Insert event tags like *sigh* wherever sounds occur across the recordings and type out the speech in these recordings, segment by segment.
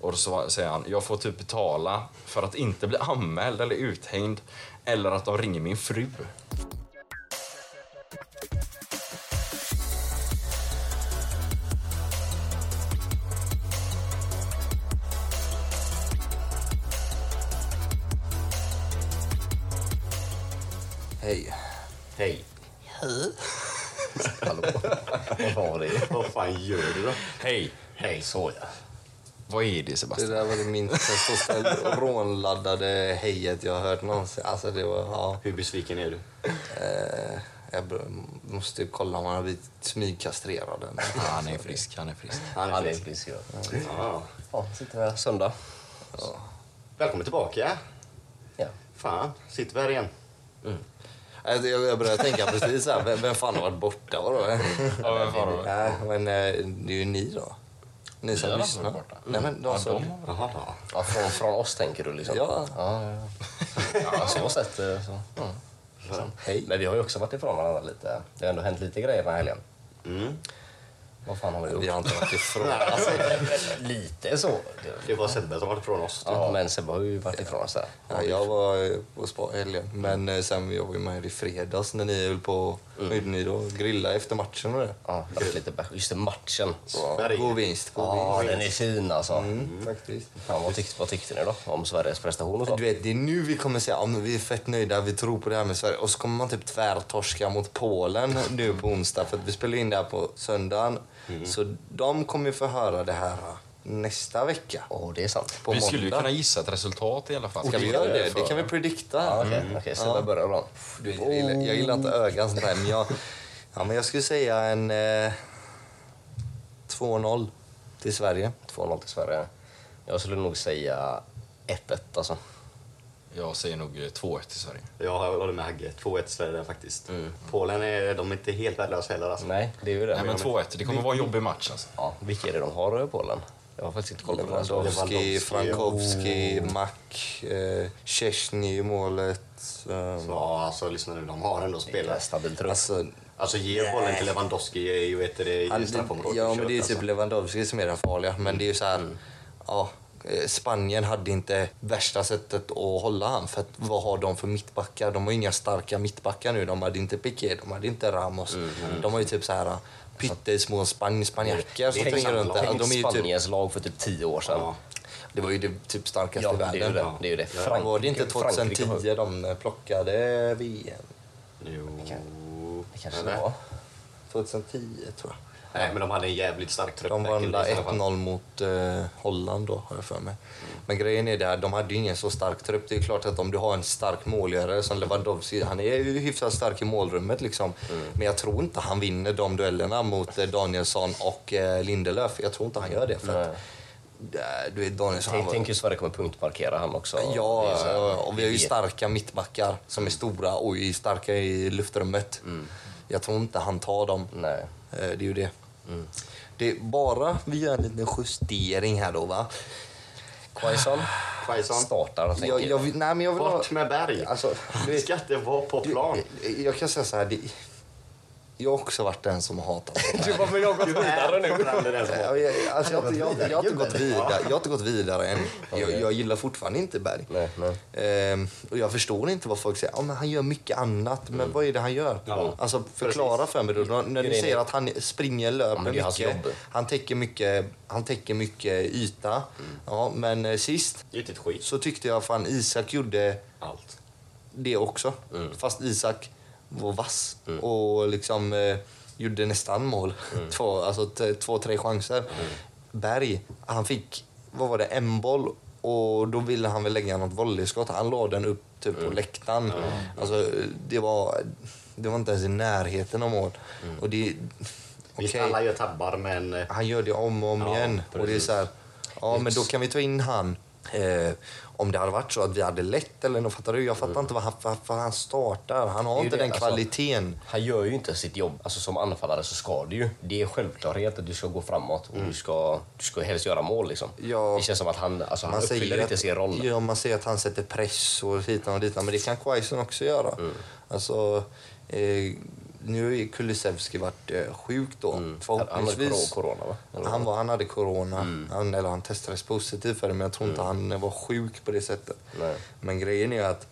Och så säger han, jag får typ betala för att inte bli anmäld eller uthängd eller att de ringer min fru. Hej. Hej. Hallå. Vad var det? Vad fan gör du då? Hej! Hej, såja. Vad är det Alltså, Det Sebastian? där var det minst testosteronladdade hejet jag har hört någonsin. Alltså det var, ja. Hur besviken är du? Eh, jag bör- måste ju kolla om han har blivit smygkastrerad. än. Han är frisk, han är frisk. Han är Mm. frisk. Ja. Ja. Ja, sitter här söndag. Välkommen tillbaka. Ja. Fan, sitter vi här igen? Alltså, jag, jag började tänka precis så här, vem, vem fan har varit borta? Vadå? Ja, men fan, vad- Nej, men eh, det är ju ni då. Ni som har aldrig lyssnar. varit borta. Nej, men de Ja, som... de- Jaha, ja. Ja, från, från oss tänker du liksom? Ja. ja, ja. ja så sett eh, så. Fan. Hej. Men vi har ju också varit ifrån varandra lite. Det har ändå hänt lite grejer den här helgen. Mm. Vad fan har vi gjort? Vi har inte varit ifrån. Alltså, lite så. Det är bara Sebbe som har varit från oss. Ja, men Sebbe har ju varit ifrån oss där. Ja, jag var eh, på spa i helgen, men eh, sen jag var ju med er i fredags när ni höll på vad gjorde ni då? grilla efter matchen och det. Mm. Ja, det har varit lite bärs. Just det, matchen. Sverige. God vinst, god Ja, vinst. den är fin alltså. Mm, faktiskt. Fan, vad, tyckte, vad tyckte ni då om Sveriges prestation och så? Du vet, det är nu vi kommer säga att vi är fett nöjda, vi tror på det här med Sverige. Och så kommer man typ tvärtorska mot Polen *laughs* nu på onsdag, för att vi spelar in det här på söndagen. Mm. Så de kommer ju få höra det här nästa vecka. Åh, det är sant. På Vi skulle ju måndag. kunna gissa ett resultat i alla fall. Ska vi göra det? Det kan vi predikta. Mm. Oh. Ja, Okej, okej, Sebbe börjar då. Du vet, jag, gillar, jag gillar inte ögon sånt där, men jag, ja, men jag skulle säga en eh, 2-0 till Sverige. 2-0 till Sverige. Jag skulle nog säga 1-1 alltså. Jag säger nog eh, 2-1 till Sverige. Jag håller med Hagge. 2-1 Sverige där faktiskt. Polen är, de är inte helt värdelösa heller alltså. Nej, det är ju det. Nej men 2-1, det kommer vara en jobbig match alltså. Ja, vilka är det de har i Polen? Jag har faktiskt inte koll på det. här. Lewandowski, Lewandowski, Oh. Frankowski, Mack, eh, Szczesny i målet. Så, Eh, ja, alltså lyssna nu, de har ändå Spela spelat. stabil trupp. alltså, Alltså ge bollen till Lewandowski är ju ett det, i han, straffområdet. ja, men det är alltså. Kört, typ Lewandowski som är den farliga, men det är ju så Mm. här, ja, eh, Spanien hade inte värsta sättet att hålla han för att vad har de för mittbackar? De har ju inga starka mittbackar nu. De hade inte Piqué, de hade inte Ramos. Mm, De har ju typ så här pyttesmå span spanjacker som Det är springer samma runt lag. där. Tänk De är ju typ, Spaniens lag för typ tio år sedan. Ja. det var ju det typ starkaste Ja, i det är ju världen. det. det, är ju det. Frankrike, var det inte Frankrike 2010 var- de plockade VM? alltså. Jo... Det kanske Eller? det var. 2010 tror jag. Nej, men de hade en jävligt stark trupp. De där, vann killar, i alla fall. 1-0 mot eh, Holland då, har jag för mig. Men grejen är det här, de hade ju ingen så stark trupp. Det är klart att om du har en stark målgörare som Lewandowski, han är ju hyfsat stark i målrummet liksom. Mm. Men jag tror inte han vinner de duellerna mot eh, Danielsson och eh, Lindelöf. Jag tror inte han gör det för att, eh, du vet Danielsson... han Tänk, var- tänk hur Sverige kommer punktmarkera han också. Det Ja, är så här- ja, och vi har ju vet- starka mittbackar som är stora och är starka i luftrummet. Jag tror inte han tar dem. Mm. Nej. Mm. Eh, Det är ju det. Det är bara vi gör en liten justering här då va. Quaison Quaison, startar tänker Jag, jag, vill- nej, men jag vill ha, bort med Berg! alltså, du Vi vet, ska inte vara på du, plan. eh, jag kan säga så här. Det, jag har också varit den som har hatat det här. Varför jag gått vidare nu? Jag, jag, alltså, jag, har inte- jag, jag, har inte gått vidare, jag har inte gått vidare än. Jag, jag gillar fortfarande inte Berg. Nej, nej. Ehm, och jag förstår inte vad folk säger. Ja, men han gör mycket annat. Men vad är det han gör? Ja. Alltså, förklara för mig. Då. När ni Mm. Grejen är- säger att han springer, löper men det är hans mycket, jobb. han täcker mycket. Han täcker mycket yta. Mm. Ja, men eh, sist Det är inte ett skit. så tyckte jag fan Isak gjorde Allt. det också. Mm. Fast Isak var vass och liksom eh, gjorde nästan mål. Mm. *laughs* Två, alltså t- två, tre chanser. Berg, han fick, vad var det, en boll och då ville han väl lägga något volleyskott. Han la den upp typ Mm. på läktaren. Alltså det var, det var inte ens i närheten av mål. Och det, Mm. Visst, okej, alla gör tabbar, men... eh, han gör det om och om Ja, igen. Och det är precis. så här, ja men då kan vi ta in han. Eh, om det hade varit så att vi hade lätt eller något, fattar du? Jag fattar inte vad han, varför han startar. Han Mm. Det har är inte det, den alltså. kvaliteten. Han gör ju inte sitt jobb. Alltså som anfallare så ska du ju. Det är självklarhet att du ska gå framåt och du, ska, du ska helst göra mål liksom. Mm. Ja. Det känns som att han, alltså, han Man uppfyller säger, inte sin roll. att, ja, man säger att han sätter Mm. press och hit och dit, men det kan Quaison också göra. Alltså, eh, nu har ju Kulusevski varit eh, sjuk då, Mm. Han hade förhoppningsvis. cor- corona, va? Eller vad? Mm. Han, var, han hade corona, han, eller han testades positiv för det, men jag tror inte han var sjuk på det sättet. Nej. Men grejen är att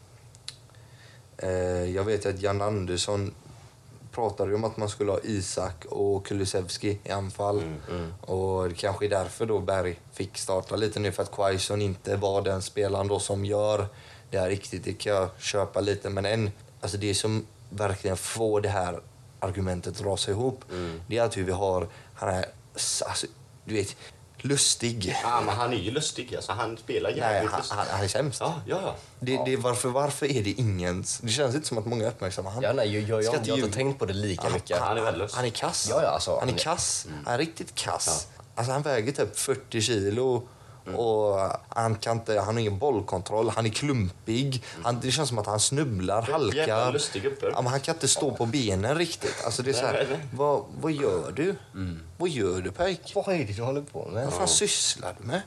eh, jag vet ju att Jan Andersson pratade ju om att man skulle ha Isak och Kulusevski i anfall. Mm, Och det kanske är därför då Berg fick starta lite nu, för att Quaison inte var den spelaren då som gör det här riktigt. Det kan jag köpa lite, men en, alltså det som verkligen får det här argumentet att rasa ihop, Mm. det är att hur vi har, han är, alltså, du vet, lustig. Ja, ah, men han är ju lustig. Alltså, han spelar Nej, jävligt han, lustigt. han, han är sämst. Ja, ja, ja. Det, det, varför, varför är det ingens... Det känns inte som att många uppmärksammar honom. Ja, nej, jag, jag, Ska jag, inte jag har ljuga. inte tänkt på det lika mycket. han är värdelös. Han är kass. Ja, ja, alltså, han är han är- kass. Han är riktigt kass. Alltså, han väger typ 40 kilo. Mm. Och han, kan inte, han har ingen bollkontroll, han är klumpig. Mm. Han, det känns som att han snubblar, jävla halkar. lustig gubbe. Ja, men han kan inte stå på benen riktigt. Alltså, det är så Nej, nej, här, nej. vad, vad gör du? Vad gör du pojk? Mm. Vad är det du håller på med? Vad fan sysslar du med?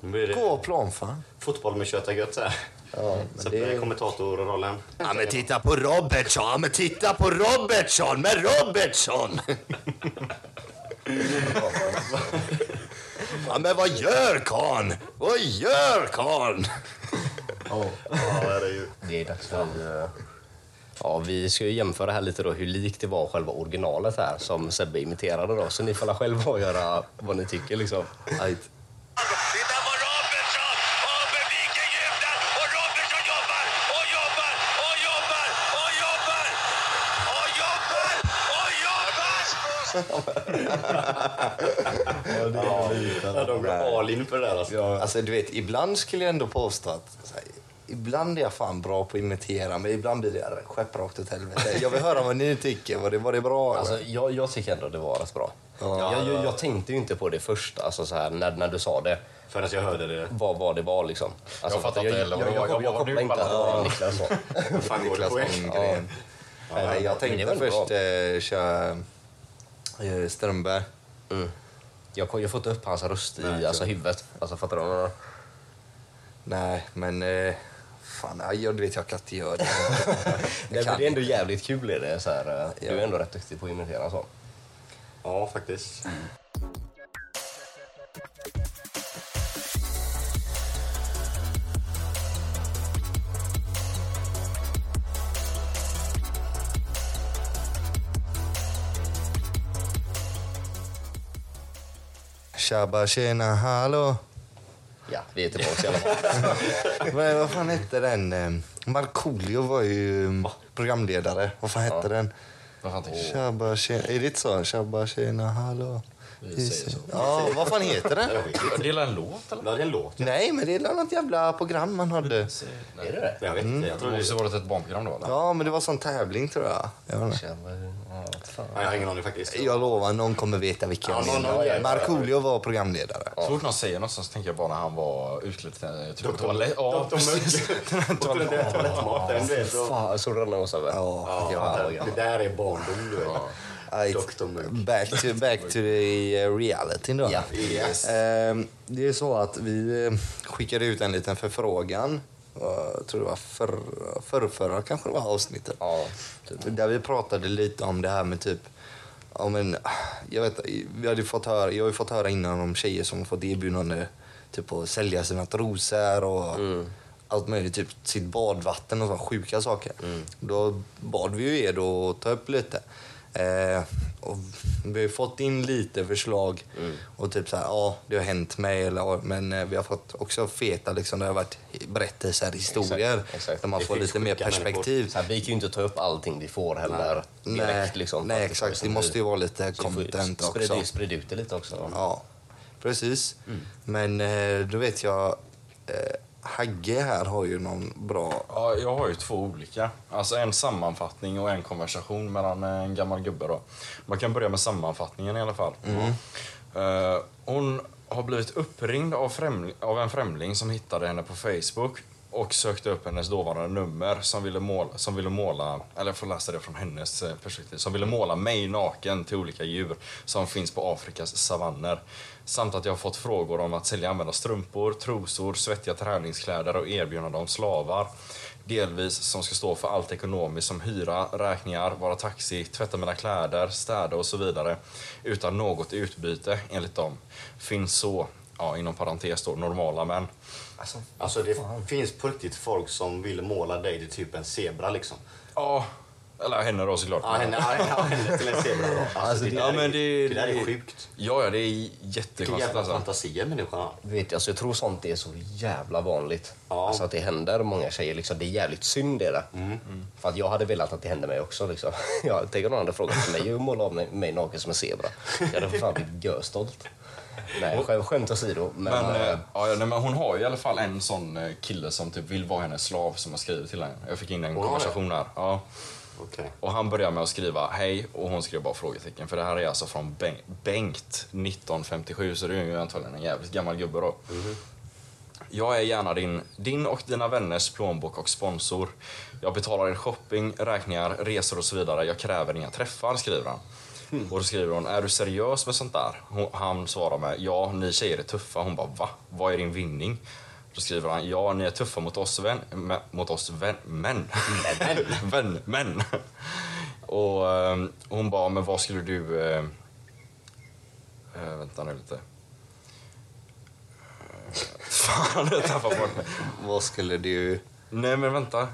Nu blir det Gå av plan fan. fotboll med kött och gött så här. Ja, så det- det... kommentatorrollen. Ja men titta på Robertson, ja, men titta på Robertson med Robertson! Ja men vad gör karln? Vad gör karln? Det är dags för... eh, Ja, vi ska ju jämföra här lite då hur likt det var själva originalet här som Sebbe imiterade då. Så ni får själva *laughs* avgöra vad ni tycker liksom. Titta på Robertson! Och publiken jublar! Och Robertson jobbar! Och jobbar! Och jobbar! Och jobbar! Och jobbar! Och jobbar! Ja, de går all in för det där alltså. Alltså du vet, ibland skulle jag ändå påstå att så här, ibland är jag fan bra på att imitera men ibland blir jag skepprakt åt helvete. Jag vill höra vad ni tycker, var det, var det bra? Alltså, Alltså, jag, jag tycker ändå det var rätt bra. jag, jag, jag tänkte ju inte på det först, alltså så här, när, när du sa det, Förrän jag hörde det. vad, vad det var liksom. Alltså, Jag fattar inte heller vad jag, det jag, var. jag, Jag jag bara, kopplar du inte att det var bara- Niklas så. Hur fan går det Niklas på er? Holmgren. Nej, jag Men det var tänkte väl först eh, köra eh, Strömberg. *laughs* Jag, kom- jag får inte upp hans röst i alltså, huvudet. Alltså, fattar du? vad jag menar? Nej, men... Eh, fan, ja, jag, du vet, jag kan inte göra det. *laughs* Nej, men kan det är ändå jävligt kul. Är det, så här, eh, Du är ändå rätt duktig på att imitera. Så. Ja, faktiskt. Tjabba tjena hallå. Ja, vi är tillbaka i alla fall. Men, vad fan hette den? eh, Markoolio var ju eh, programledare. Vad fan hette den? Vad fan tänker du? Tjabba tjena... Är det inte så? Tjabba tjena hallå. Vi säger så. Ja, vad fan heter den? Det är en låt eller? Ja, det är en låt. Nej, men det är något jävla program man Mm. hade. Är det det? Jag vet inte. Jag, tror Det det... Mm. måste ha varit ett barnprogram då eller? Ja, men det var sån tävling tror jag. Jag, vet inte. Ja, vad fan. Nej, jag har ingen aning faktiskt. jag lovar, någon kommer veta vilken Ja, jag någon- menar. någon jävla- Markoolio var programledare. Så fort någon säger något så tänker jag bara när han var utklädd till eh, typ Doktor- toalett. Ja, Doktor *laughs* precis. Mugg. *laughs* Och den där toalettmaten, du vet. och- Fan, såg du den också? va? Ja, Ja, det där är barndom, du vet. Aj, Dr. Mugg. Back to, back to the eh, reality då. Ja. Yes. Ehm, det är så att vi eh, skickade ut en liten förfrågan. eh, Jag tror det var förr, förrförra kanske det var avsnittet. Ja, typ. Där vi pratade lite om det här med typ Ja, men, jag, vet, vi hade fått höra, jag har ju fått höra innan om tjejer som har fått erbjudande typ, att sälja sina trosor och Mm. allt möjligt. Typ sitt badvatten och sådana sjuka saker. Mm. Då bad vi ju er då att ta upp lite. Eh, och vi har ju fått in lite förslag. Mm. Och typ så här, ja det har hänt mig. Eller, ja, men eh, vi har fått också feta, liksom, det har varit berättelser, historier. exakt. Där man Det får finns lite mer sjuka människor. perspektiv. Typ. Så här, vi kan ju inte ta upp allting vi får heller direkt. liksom, nej För att ska exakt. Det liksom måste bli- ju vara lite vi får ju content sprid- också. Sprid ut det lite också. Ja, precis. Men eh, då vet jag... Eh, Hagge här har ju någon bra... Ja, jag har ju två olika. Alltså en sammanfattning och en konversation mellan eh, en gammal gubbe då. Man kan börja med sammanfattningen i alla fall. Eh, hon har blivit uppringd av, främling, av en främling som hittade henne på Facebook. och sökte upp hennes dåvarande nummer som ville måla, som ville måla eller jag får läsa det från hennes eh, perspektiv, som ville måla mig naken till olika djur som finns på Afrikas savanner. Samt att jag har fått frågor om att sälja använda strumpor, trosor, svettiga träningskläder och erbjuda dem slavar. Delvis som ska stå för allt ekonomiskt som hyra, räkningar, vara taxi, tvätta mina kläder, städa och så vidare. Utan något i utbyte enligt dem. Finns så, ja inom parentes då, normala män. Alltså, Alltså det finns på riktigt folk som vill måla dig till typ en zebra liksom. Ja, eller henne då såklart. Ja, henne, ja, ja, henne till en zebra då. Alltså, det, där ja, är, men det- det där är det- sjukt. Ja, ja, det är Vilken jättekonstigt jävla alltså. fantasier människan har. Vet, alltså, jag tror sånt är så jävla vanligt. Ja. Alltså att det händer många tjejer. Liksom, det är jävligt synd det där. Mm. För att jag hade velat att det hände mig också. Liksom. *laughs* Jag tänker någon hade frågat till mig hur måla av mig, mig naken som en zebra. Jag hade för fan blivit görstolt. Nej, skäm- skämt åsido. Men, Men, eh, eh, ja, nej, men hon har ju i alla fall en sån eh, kille som typ vill vara hennes slav som har skrivit till henne. Jag fick in en har det? konversation där. Ja. Okej. Och han började med att skriva hej och hon skrev bara frågetecken. För det här är alltså från Beng- Bengt 1957 så det är ju antagligen en jävligt gammal gubbe då. Jag är gärna din, din och dina vänners plånbok och sponsor. Jag betalar er shopping, räkningar, resor och så vidare. Jag kräver inga träffar, skriver han. Och då skriver hon, är du seriös med sånt där? Hon, han svarar med, ja, ni tjejer är tuffa. Hon bara, va? Vad är din vinning? Då skriver han, ja, ni är tuffa mot oss, vän, mä- mot oss vän, män. *laughs* vän, män. Och eh, hon bara, men vad skulle du... Eh, eh, vänta nu lite. *laughs* Fan, jag tappade bort mig. vad skulle du... Nej, men vänta.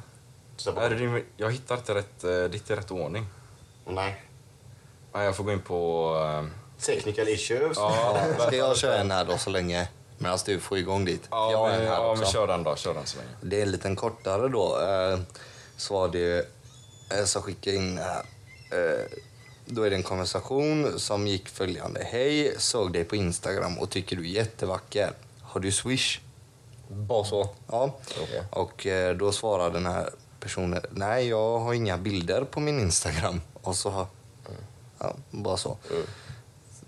Så Är det bara, din, jag hittar inte rätt, eh, ditt i rätt ordning. Nej. Nej, jag får gå in på... eh, Technical issues. Ja, Ska jag köra en här då så länge medan du får igång dit? *laughs* jag ja, har men, en här ja också. men kör den då. Kör den så länge. Det är en liten kortare då. Eh, Så var det ju, eh, så skickade jag in här. Eh, Då är det en konversation som gick följande. Hej, såg dig på Instagram och tycker du är jättevacker. Har du swish? bara så. Ja. Okej. Och eh, då svarar den här personen, nej jag har inga bilder på min Instagram. Och så, ja, bara så.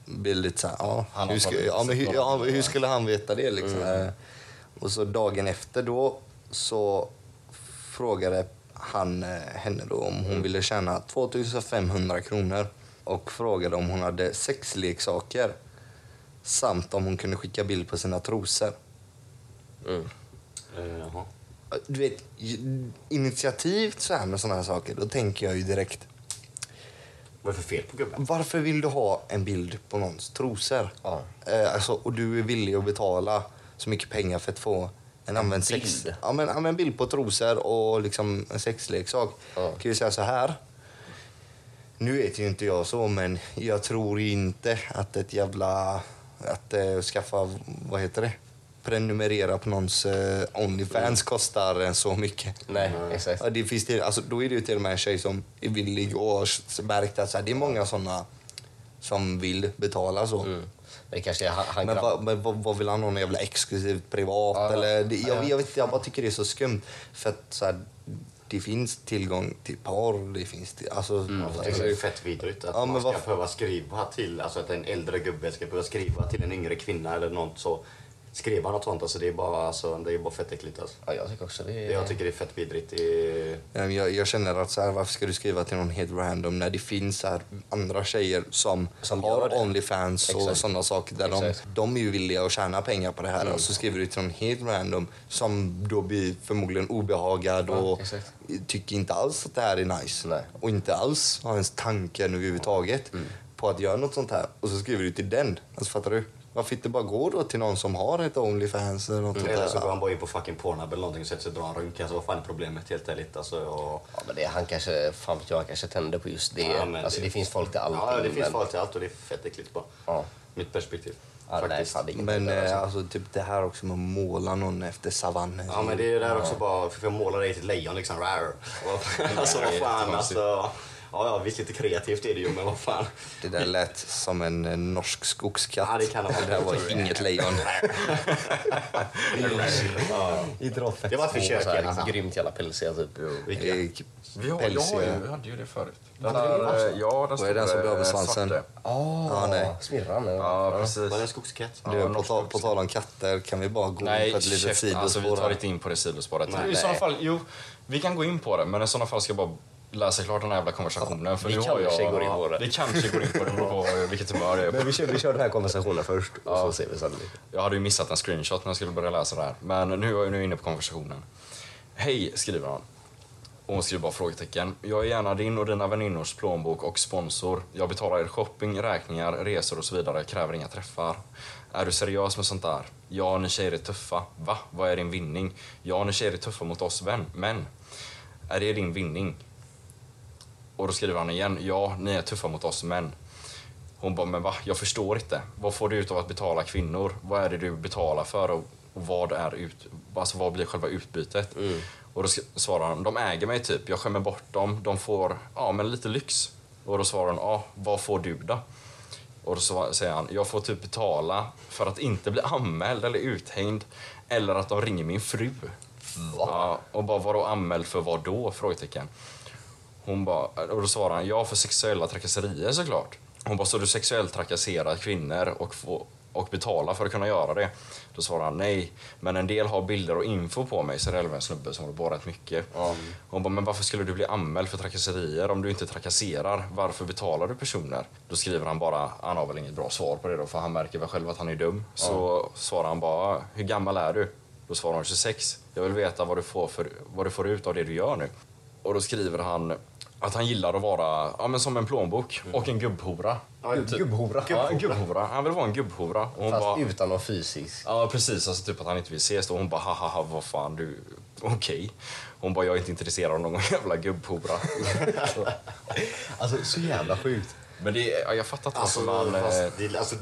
Blir lite så här, ja, Mm. Han har hur, ska, tagit Mm. ja, men hur, några ja, bilder. hur skulle han veta det liksom? Eh, Och så dagen efter då så frågade han eh, henne då om Mm. hon ville tjäna 2500 kronor och frågade om hon hade sexleksaker samt om hon kunde skicka bild på sina trosor. Eh, jaha. Du vet, ju- initiativt så här med såna här saker, då tänker jag ju direkt. Vad är det för fel på gubben? Varför vill du ha en bild på någons trosor? Ja. Eh, alltså, och du är villig att betala så mycket pengar för att få en använd sex... bild? Ja, men, ja, men bild på trosor och liksom en sexleksak. Ja. Kan ju säga så här. Nu vet ju inte jag så, men jag tror ju inte att ett jävla... Att eh, skaffa, vad heter det? Prenumerera på någons eh, Onlyfans kostar eh, så mycket. Mm. Nej, exakt. Ja, det finns till, alltså, då är det ju till och med en tjej som är villig och har märkt att så här, det är många såna som vill betala så. Mm. Det kanske är han, han Men, grabb- vad, men vad, vad vill han ha? Någon jävla exklusivt privat? Ja, eller, det, jag, ja. jag, vet, inte, jag bara tycker det är så skumt. För att så här, det finns tillgång till porr, det finns... till- Alltså, Mm, Jag tycker det är fett vidrigt att Ja, men man ska varför- behöva skriva till, alltså att en äldre gubbe ska behöva skriva till en yngre kvinna eller något så. Skriva något sånt, alltså det är bara, alltså, det är bara fett äckligt alltså. ja, jag tycker också det. Det Jag tycker det är fett vidrigt. Det är... Eh, Jag, jag känner att så här, varför ska du skriva till någon helt random när det finns så här, andra tjejer som, Som gör har det. Onlyfans och Exakt. sådana saker. Där de, Exakt. Mm. de är ju villiga att tjäna pengar på det här. Och så skriver du till någon helt random som då blir förmodligen obehagad och exakt. tycker inte alls att det här är nice. Nej. Mm. Och inte alls har ens tanken överhuvudtaget på att göra något sånt här. Och så skriver du till den. Alltså, fattar du? Varför inte bara gå då till någon som har ett Onlyfans eller något Mm. sånt Eller så där? går han bara in på fucking Pornhub eller någonting och sätter sig och drar en runk. Alltså vad fan är problemet helt ärligt? Alltså, och... Ja, men det, han kanske, fan vet jag, han kanske tänder på just det. Ja, men alltså, det, det- finns folk till allt. Ja, det finns men- folk till allt och det är fett äckligt bara. Ja. Mitt perspektiv. Ja, nej, faktiskt. fan, det är inget Men där, alltså. eh, alltså, typ det här också med att måla någon efter savannen. Ja *laughs* men det är ju där också bara, för jag målar dig till ett lejon liksom. Rar. Och- alltså vad fan jättekonstigt. alltså. Ja, ja, visst lite kreativt är det ju, men vad fan. Det där lät som en eh, norsk skogskatt. Ja, det kan det vara. det där var inget lejon. Ja. Inte då fett Det var ett små, försök alltså. så här, i alla fall. Grymt jävla pälsiga typ. Vilka? Vi, har, jag har ju, vi hade ju det förut. Den Hade vi den där, också? eh, ja, den Vad är den som stora, blir av med eh, svansen? svarte. Oh, Ja, nej. Smirran. Ja. Ja, precis. Var det en skogskatt? Ja. Du, på, tal, på tal om katter, kan vi bara gå in Nej, på ett litet käften. Alltså, vi sidospår? tar här? inte in på det sidospåret. Nej. I sådana fall, jo, vi kan gå in på det, men i sådana fall ska jag bara läsa klart den här jävla konversationen. För vi nu har kanske jag, går in på det. Vi kanske går in på det, beror på vad- vilket humör jag är på. Men vi kör, vi kör den här konversationen först och så ser vi sen. Jag hade ju missat en screenshot när jag skulle börja läsa det här. Men nu är jag nu inne på konversationen. Hej, skriver han. Och hon skriver bara frågetecken. Jag är gärna din och dina väninnors plånbok och sponsor. Jag betalar er shopping, räkningar, resor och så vidare. Kräver inga träffar. Är du seriös med sånt där? Ja, ni tjejer är tuffa. Va? Vad är din vinning? Ja, ni tjejer är tuffa mot oss vän. men. Är det din vinning? Och då skriver han igen. Ja, ni är tuffa mot oss män. Hon bara, men va? Jag förstår inte. Vad får du ut av att betala kvinnor? Vad är det du betalar för och, och vad är ut, alltså vad blir själva utbytet? Och då sk- svarar han, de äger mig typ. Jag skämmer bort dem. De får, ja men lite lyx. Och då svarar hon, ja vad får du då? Och då sva- säger han, jag får typ betala för att inte bli anmäld eller uthängd eller att de ringer min fru. Ja, och bara, vadå anmäld för vad då? Frågetecken. Hon bara, och då svarar han ja för sexuella trakasserier såklart. Hon bara, så du sexuellt trakasserar kvinnor och, få, och betalar för att kunna göra det? Då svarar han nej, men en del har bilder och info på mig, så det är även en snubbe som håller på rätt mycket. Hon bara, men varför skulle du bli anmäld för trakasserier om du inte trakasserar? Varför betalar du personer? Då skriver han bara, han har väl inget bra svar på det då, för han märker väl själv att han är dum. Så svarar han bara, hur gammal är du? Då svarar hon 26. Jag vill veta vad du får, för, vad du får ut av det du gör nu. Och då skriver han att han gillar att vara ja, men som en plånbok och en gubbhora. Ja, typ. Gubbhora. Ja, en gubbhora. Han vill vara en gubbhora. Och hon Fast bara, utan någon fysisk. ja, precis. Alltså typ att han inte vill ses. Och hon bara, haha, vad fan, du... Okej. Hon bara, jag är inte intresserad av någon *laughs* jävla *laughs* gubbhora. Alltså så jävla sjukt. men det, ja, jag fattar inte Alltså, alltså, man... eh, fast, det, alltså,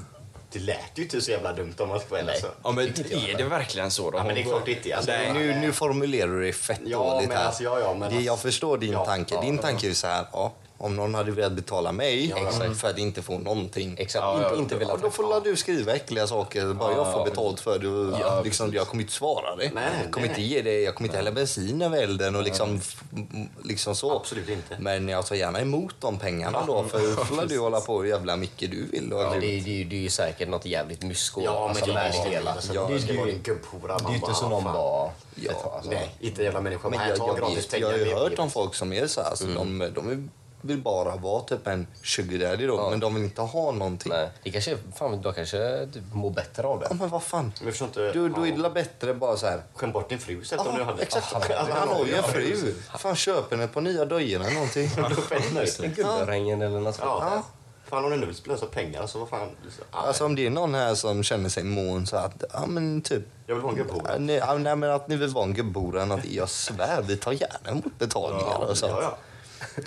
det lät ju inte så jävla dumt om man ska vara ärlig. alltså. Ja, men är det verkligen så då? Ja, men det är Hon klart det inte är. Alltså, Nej, nu, nu formulerar du det fett Ja, dåligt men här. alltså, ja, ja, men Det- jag alltså- förstår din ja, tanke. Din tanke är ju så här, ja, om någon hade velat betala mig för att inte få någonting. Exakt. Ja, inte ja. inte Mm. Ja, velat då får la du skriva äckliga saker. Bara jag får betalt för det. och liksom, jag kommer inte svara dig. Nej, jag kommer nej, inte ge dig. Jag kommer inte hälla bensin över elden och liksom, m- liksom så. Absolut inte. Men jag tar gärna emot de pengarna då. För får la du hålla på hur jävla mycket du vill. Och Ja, Alltså, det, det, är ju- det är ju säkert något jävligt mysko. Ja, men alltså, det med är ju hela. alltså, Ja, det det ska är vara ju- en gubbhora. Det är ju inte som någon bara... Ja, alltså. Nej, inte en jävla människa. Men Men jag, här, ta jag, gratis vet, pengar. jag har det ju är Mm. hört billigt. om folk som är så här. Alltså, de, de vill- vill bara vara typ en sugar daddy då, men de vill inte ha någonting. Nej. Det kanske, fan, de kanske typ, mår bättre av Ja, det. men vad fan. Men jag förstår inte... Du, då är det ja. la bättre bara så här. Skäm bort din fru så att om du Ja, hade... exakt. *laughs* Ah, Han, han har ju en fru. precis. Fan, köp henne på nya dojorna eller någonting. Då *laughs* skämmer jag ju. Guldringen Typ, eller något *laughs* sånt. Ja. Fan, om du nu vill slösa pengar så vad fan... Ah, Alltså om det är någon här som känner sig mån så att, ja men typ. Jag vill vara en gubbhora. Ja, nej, ja, nej men att ni vill vara en gubbhora eller något. Jag svär, vi tar gärna emot betalningar och sånt. Ja, ja.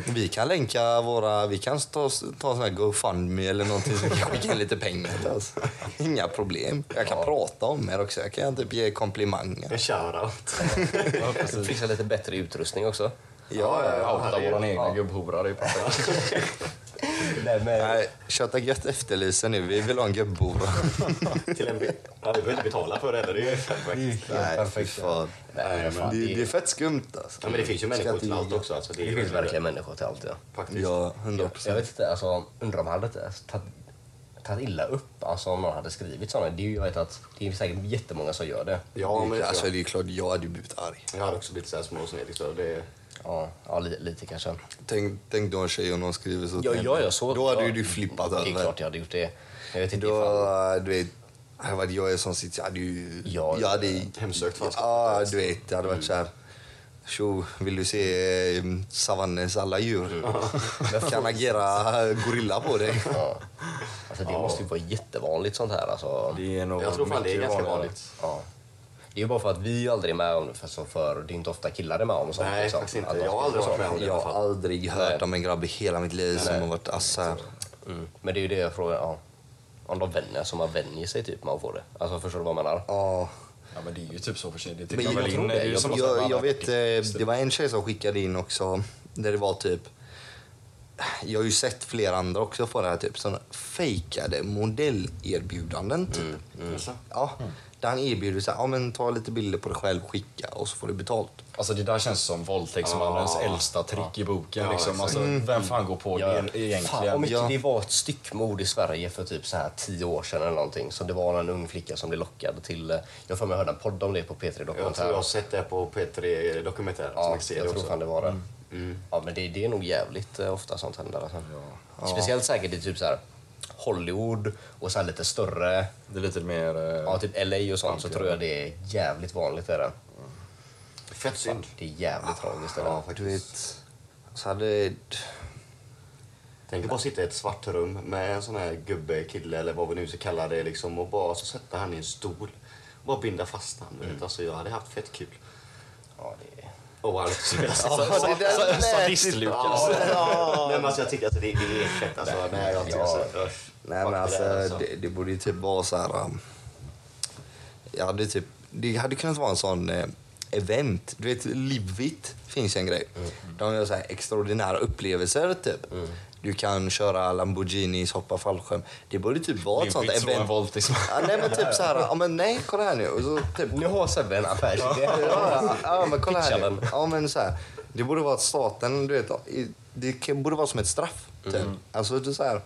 Vi kan länka våra, vi kan ta, ta sån här GoFundMe eller någonting så vi kan skicka in lite pengar till oss. Inga problem. Jag kan prata om er också, jag kan typ ge komplimanger. En shoutout. Fixa lite bättre utrustning också. Ja, ja, ja. Outa herregud. våran egna gubbhora, det är perfekt. Nej, men, Nej, Köta gött efterlyser nu, vi vill ha en gubbhora. Till en... bi- Ja, vi behöver inte betala för det heller. *laughs* Det är ju perfekt. Nej, perfekt. fy fan. nej, men fan, Det, det, det är fett skumt alltså. Ja, men det finns ju Ska människor inte till allt ljuga. också. Alltså, det är det ju finns verkligen människor till allt. Ja. Faktiskt. Ja, hundra Jag procent. vet inte, alltså, undrar om han hade inte tagit, tagit illa upp alltså, om någon hade skrivit sådana. Det är ju, jag vet att det är säkert jättemånga som gör det. Ja, men Alltså det är klart, jag hade ju blivit arg. jag hade också blivit så här småsned. Liksom. Det... Ja, ja li, lite kanske. Tänk, tänk då en tjej och någon skriver så. till Ja, henne. ja, jag såg- Då hade ju ja. du flippat Det är över. klart jag hade gjort det. Jag vet inte Då, ifall... du vet, hade varit jag i en sån sits, jag hade ju... Ja, eh, jag hade, hemsökt fast. Ja, du vet, jag hade varit så här... Tjo, vill du se eh, savannens alla djur? *laughs* kan agera gorilla på dig. Mm. Ja. Alltså, det måste ju vara jättevanligt sånt här. Alltså. Det är nog Jag tror fan det är mycket ganska vanligare. vanligt. Ja. Det är ju bara för att vi aldrig är med om det, för, så för det är inte ofta killar är med om sånt. Nej, liksom. faktiskt inte. Att de Jag har aldrig skriver varit med sånt. om det. Jag har aldrig hört Nej. om en grabb i hela mitt liv som har varit assar. Mm. Men det är ju det jag frågar. Ja. Om de vänjer sig, man vänjer sig typ med att få det. Alltså förstår du vad jag menar? Ja. Ja, men det är ju typ så för sig. Det Men tittar jag, väl in. tror Det är det. ju som Jag, att jag, alla- vet, eh, det var en tjej som skickade in också där det var typ jag har ju sett flera andra också få det här typ sådana fejkade modellerbjudanden typ. Mm, Alltså, Ja, där han erbjuder så här, ja men ta lite bilder på dig själv, skicka och så får du betalt. Alltså det där känns som våldtäktsmannens äldsta trick i boken. Ja, liksom. exakt. alltså, vem fan går på det e- egentligen? Fan vad mycket Ja. det var ett styckmord i Sverige för typ så här tio år sedan eller någonting. Så det var en ung flicka som blev lockad till, eh, jag får mig hörde en podd om det på P3 jag tror Dokumentär. jag har sett det här på P3 Dokumentär som Ja, jag ser jag tror också. fan det var det. Mm. Ja, men det, det är nog jävligt eh, ofta sånt händer. Alltså. Ja. Speciellt säkert i typ så här Hollywood och så här lite större, Det är lite mer... eh, ja, typ LA och sånt, så tror jag det är jävligt vanligt. Är det. Fett synd. det är jävligt tragiskt. Är det. Ja, Du faktiskt. vet, så hade... Tänk att bara sitta i ett svart rum med en sån här gubbe, kille eller vad vi nu ska kalla det liksom och bara så sätta han i en stol. Bara binda fast han. Mm. Alltså, jag hade haft fett kul. Ja, det är... Och Alex. Alltså, eh, Sadist-Lukas. ja. Nej, men alltså, jag tycker alltså, det, det är fett. Alltså, nej, jag tycker, alltså, usch. Nej Fuck men det alltså, där, det, det borde ju typ vara så här... Um, jag hade typ, det hade kunnat vara en sån eh, event. Du vet, Livvit finns en grej. De gör så här extraordinära upplevelser typ. Du kan köra Lamborghinis, hoppa fallskärm. Det borde typ vara ett sånt Livvigt slå en event. våldtäktsman. Ja, nej men typ så här, ja men nej kolla här nu. Och så, typ, Nu har Sebbe en *laughs* affärsidé. Ja, ja, ja, men kolla här. Pitcha nu. den. Ja, men så här. Det borde vara att staten, du vet, i- det kan- borde vara som ett straff. Typ. Alltså, det är så här.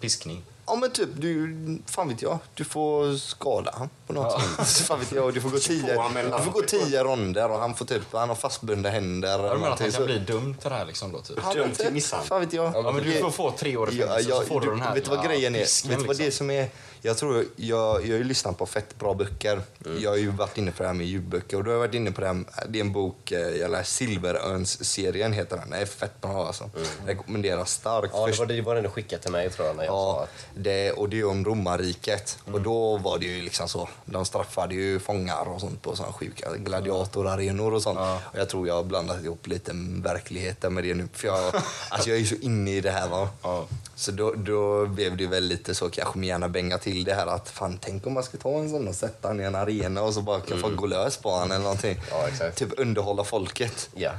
Piskning. Ja, men typ, du, fan vet jag, du får skada han på något sätt. Fan vet jag, du får *laughs* gå tio, På han med du får gå tio ronder och han får typ, han har fastbundna händer. Ja, eller Du menar att han kan någonting, så- bli dum till det här liksom då, typ? Ja, men Dömd till typ, misshandel. Fan vet jag. Ja, men du får få tre år i Ja, fängelse, ja, så får du, du, den här vet du vad jävla grejen är? pisken, vet du vad det är liksom. som är? Jag tror, jag, jag har ju lyssnat på fett bra böcker. Mm. Jag har ju varit inne på det här med ljudböcker och då har jag varit inne på det här, det är en bok, eh, jag läser Silverörns-serien heter den. Den är fett bra alltså. Mm. Rekommenderas starkt. Ja, det Först- var det, var den du skickade till mig tror jag när jag sa Ja, att det, och det är om romarriket. Och då var det ju liksom så. De straffade ju fångar och sånt på sådana sjuka gladiatorarenor och sånt. Och jag tror jag har blandat ihop lite verkligheten med det nu. För jag, alltså jag är ju så inne i det här va. Ja. Så då, då blev det väl lite så kanske med gärna bänga till det här att fan tänk om man ska ta en sån och sätta han i en arena och så bara kan få gå lös på han eller någonting. Mm. Ja, exakt. Typ underhålla folket. Ja.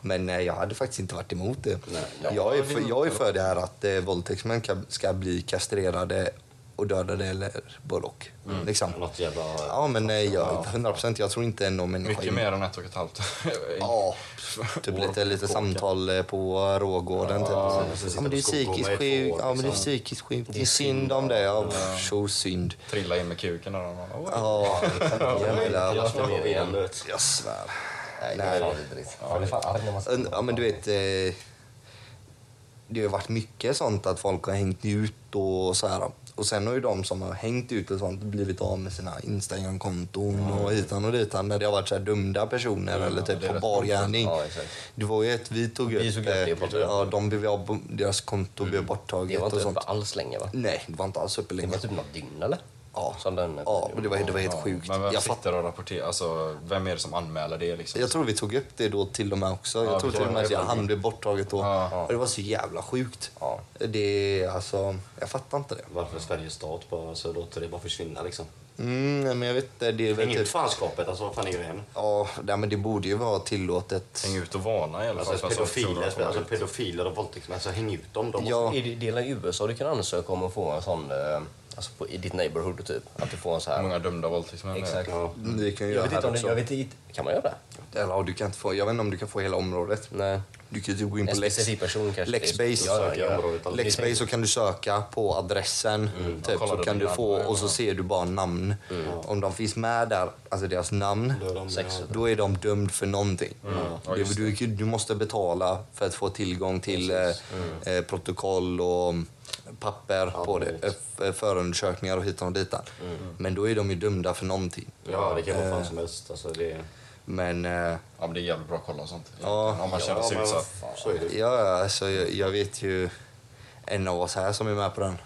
Men nej, jag hade faktiskt inte varit emot det. ja. jag, är för, jag är för det här att eh, våldtäktsmän kan, ska bli kastrerade och dödade eller både och. Mm. Liksom. Något jävla... Ja, men nej, jag, 100 procent. Jag tror inte någon människa... Mycket mer än ett och ett halvt. *laughs* Ja, typ lite, lite samtal eh, på rågården. Ja, typ. precis. ja, men du är Sitta och psykiskt skopa i två sjuk. år, Ja, men du är liksom. psykiskt sjuk. Det är synd om det. Ja, pff, så synd. Trilla in med kuken där. och bara, "Oj." Ja, *laughs* jävlar. Jag ska ner igen. Jag svär. nej, Nej. det var vidrigt. Ja, det är fan arg när man En- Ja men du vet, eh, det har ju varit mycket sånt att folk har hängt ut och så här. Och sen har ju de som har hängt ut och sånt blivit av med sina Instagram-konton och hitan och ditan när det har varit så här dumda personer eller typ det är på rätt bar gärning. Ja, exakt. det var ju ett vi tog upp, Vi tog upp det eh, på podden. ja, de blev av, deras konto blev borttaget Det var inte och sånt. uppe alls länge va? Nej, det var inte alls uppe Det länge. var typ något dygn eller? Ja, Som den, ja men det var, det var helt Ja, sjukt. Men vem Jag, fatt, sitter och rapporterar? Alltså, vem är det som anmäler det liksom? jag tror vi tog upp det då till och med också. Jag Ja, tror det till och var med att det. jag- han blev borttaget då. Ja, ja. Och det var så jävla sjukt. Ja. Det är alltså, jag fattar inte det. Varför Sveriges stat bara så låter det bara försvinna liksom. Mm, nej, men jag vet inte, det är väl Häng typ, ut fanskapet, alltså vad fan är grejen? ja, nej, men det borde ju vara tillåtet. Häng ut och varna i alla fall. Alltså för att så tror pedofiler, de att de alltså, är ute. pedofiler och våldtäktsmän, alltså häng ut dem. De Ja. Är det delar i USA du kan ansöka om att få en sån, eh, alltså på, i ditt neighborhood typ, att du får en så här. Många dömda våldtäktsmän. är- Exakt. Ja. Det kan ju Jag göra vet inte här om det, också. jag vet inte, kan man göra det? Eller ja, du kan inte få, jag vet inte om du kan få hela området. Nej. Du kan ju typ gå in på En Lex, specifik person kanske. Lexbase. Ja, ja, Söker i ja. området, alltså. Lexbase så kan du söka på adressen typ, kolla så det kan du där. få Ja, ja. och så ser du bara namn. Mm. Om de finns med där, alltså deras namn, Då är de- Sex. ja. då är de dömd för någonting. Ja, Du, just du, du måste betala för att få tillgång till eh, Mm. eh, protokoll och mm, papper på det, precis. eh, f- förundersökningar och hitan och ditan. Mm. Men då är de ju dömda för någonting. Ja, det kan vara fan som Eh. helst. Alltså, det... Men eh, Ja, men det är jävligt bra att kolla och sånt. Ja. Om man känner Ja, sig men utsatt. vad så är det. ja, alltså, jag, jag vet ju en av oss här som är med på den.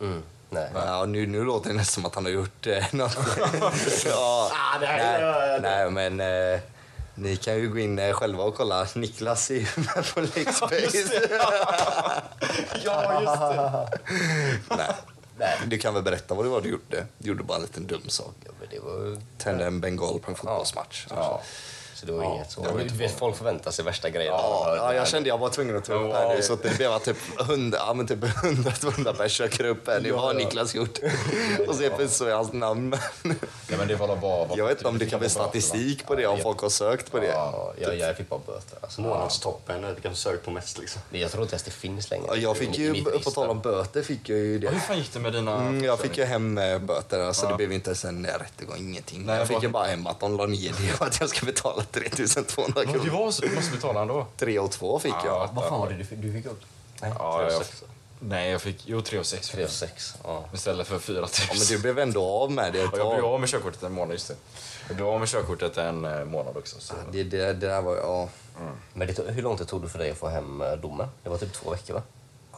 Mm. Nej. Ja, nu, nu låter det nästan som att han har gjort eh, *laughs* något. ja, Ah, det här gör nej, jag. nej, men eh, ni kan ju gå in eh, själva och kolla. Niklas är ju *laughs* med på Lexbase. Ja, just det. *laughs* nej. Nej. Du kan väl berätta vad det var du gjorde? Du gjorde bara en liten dum sak. Ja, men det var... Tände en bengal på en fotbollsmatch. Ja. Så det var inget så. det var inte Du vet, folk förväntar sig värsta grejer. Ja, ja, jag kände jag var tvungen att ta upp här nu så att det blev att typ 100, ja, men typ 100-200 pers söker upp här nu. Vad har *laughs* Niklas gjort? Och så helt plötsligt så är hans namn med. Nej, men det var bara, bara, Jag vet inte om det kan bli statistik på det, om folk har sökt på det. Ja, jag, jag fick bara böter. Alltså, Månadstoppen, du kan söka på mest liksom. Men Jag tror inte ens det finns längre. Ja, Jag fick I- i ju, mitt på register. tal om böter, fick jag ju Hur det. fan gick det med dina... Mm, jag fick ju hem eh, böterna så Ja. det blev inte ens en rättegång, ingenting. Nej, jag fick vad- ju bara hem att de la ner det och att jag ska betala 3200 Ja, Det kronor. var så, du måste betala ändå. 3 och 2 fick jag. Vad fan var det du fick? Du fick upp? Nej, Ja, jag, sex. nej, jag fick... Jo, 3 och 6 3 6. Ja. istället för 4 000. Ja, men du blev ändå av med det Och ett alltså. jag blev tag. av med körkortet en månad, just det. Jag blev av med körkortet en eh, månad också. Så. Det, det, det där var, ja. Men det, tog- hur lång tid tog det för dig att få hem eh, domen? Det var typ två veckor, va?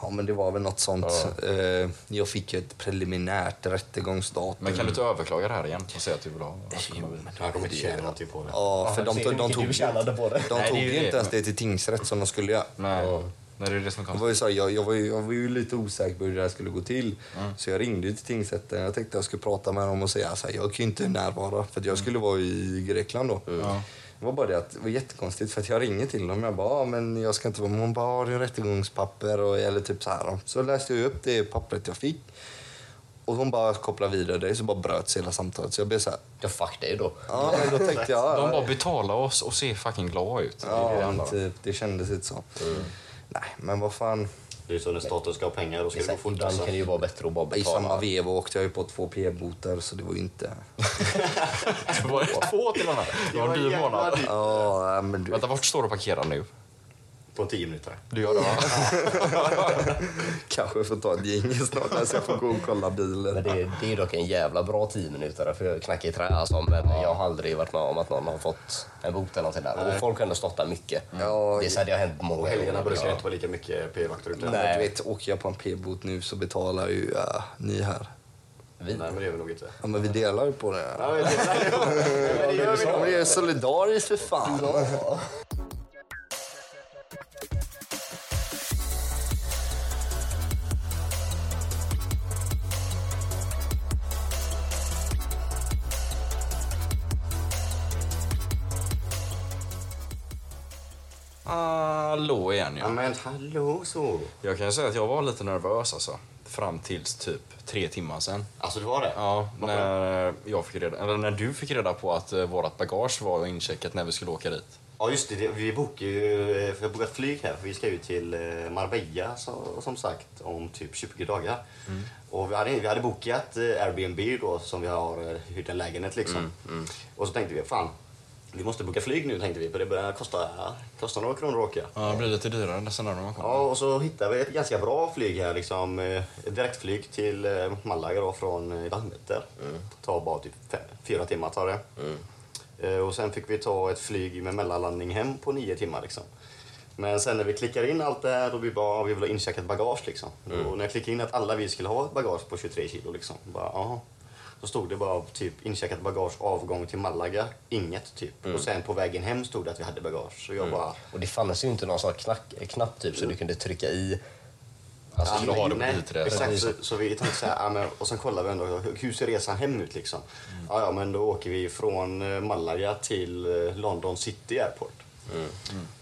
ja, men det var väl något sånt. Eh, Jag fick ju ett preliminärt rättegångsdatum. Men kan du inte överklaga det här igen och säga att du vill ha? Jag kommer inte tjäna någonting typ på det. Ja, för Ja, de, ser de, hur de mycket tog du tjänade på det. De Nej, tog det är ju ju det. inte ens det till tingsrätt som de skulle göra. Nej. Nej, det är det som är Det konstigt. var ju så, här, jag, jag, var ju, jag var ju lite osäker på hur det här skulle gå till. Så jag ringde till tingsrätten. Jag tänkte jag skulle prata med dem och säga så här, jag kan ju inte närvara för att Mm. jag skulle vara i Grekland då. Det var bara det att det var jättekonstigt för att jag ringer till dem. Jag bara, "Ah, men jag ska inte vara med. Hon bara, har du rättegångspapper? Och, eller typ så här. Så läste jag upp det pappret jag fick. Och hon bara kopplade vidare det så bara bröts hela samtalet. Så jag blev så här, Ja, fuck dig då. ja men då tänkte jag... *laughs* De bara betalar oss och ser fucking glada ut. Det är det Mm. det Ja, handlar *laughs* men om. typ, det kändes inte så. Nej, men vad fan. Det är så när staten ska ha pengar, då ska det gå Exakt, fort. Ibland Alltså. kan det ju vara bättre att bara I samma betala. veva åkte jag ju på två p-boter så det var ju inte... Det var två till och med. Det var en dyr månad. Ja, men du... Vänta, vart står du och parkerar nu? På 10 minuter. Du gör det va? *laughs* Kanske får ta ett gäng snart här, så jag får gå och kolla bilen. Men det, det är dock en jävla bra tio minuter för jag knackar i trä alltså, men jag har aldrig varit med om att någon har fått en bot eller någonting där. Och folk har ändå stått där mycket. Ja, det är så här, det har hänt många På helgerna gånger. brukar det inte vara lika mycket p-vakter ute. Nej. Du vet, åker jag på en p-bot nu så betalar ju äh, ni här. Vi- Nej, men det är vi nog inte. Ja, men vi delar ju på det. Ja, men det är- det gör vi Ja, nog. men det är solidariskt för fan. Hallå igen Ja, ja. men hallå så. Jag kan ju säga att jag var lite nervös alltså. Fram tills typ tre timmar sen. Alltså, det var det? Ja, när, jag fick reda, eller när du fick reda på att eh, vårt bagage var incheckat när vi skulle åka dit. Ja just det, det, vi bokar ju, eh, för jag har bokat flyg här för vi ska ju till eh, Marbella så, som sagt om typ 20 dagar. Och vi hade, vi hade bokat eh, Airbnb då som vi har eh, hyrt en lägenhet liksom. Och så tänkte vi, fan vi måste boka flyg nu tänkte vi för det börjar kosta, kosta några kronor att åka. Ja, det blir lite dyrare nästan när man kommer. Ja, och så hittade vi ett ganska bra flyg här. Liksom, eh, ett direktflyg till eh, Malaga då, från eh, Landvetter. Tar bara typ fem, fyra timmar. Tar det. Eh, och sen fick vi ta ett flyg med mellanlandning hem på nio timmar. Liksom. Men sen när vi klickar in allt det här och vi bara, vi vill ha incheckat bagage liksom. Och när jag klickade in att alla vi skulle ha ett bagage på 23 kilo liksom. Bara, aha. Då stod det bara typ incheckat bagage avgång till Malaga, inget typ. Och sen på vägen hem stod det att vi hade bagage. Så jag bara, Och det fanns ju inte någon sån här knack, knapp typ så du kunde trycka i. Alltså, skulle det- ha det på Mm. nej, bilträdet. Exakt, så, så vi tänkte så här, ja, men, och sen kollar vi ändå, hur ser resan hem ut liksom? Ja, ja, men då åker vi från eh, Malaga till eh, London City Airport.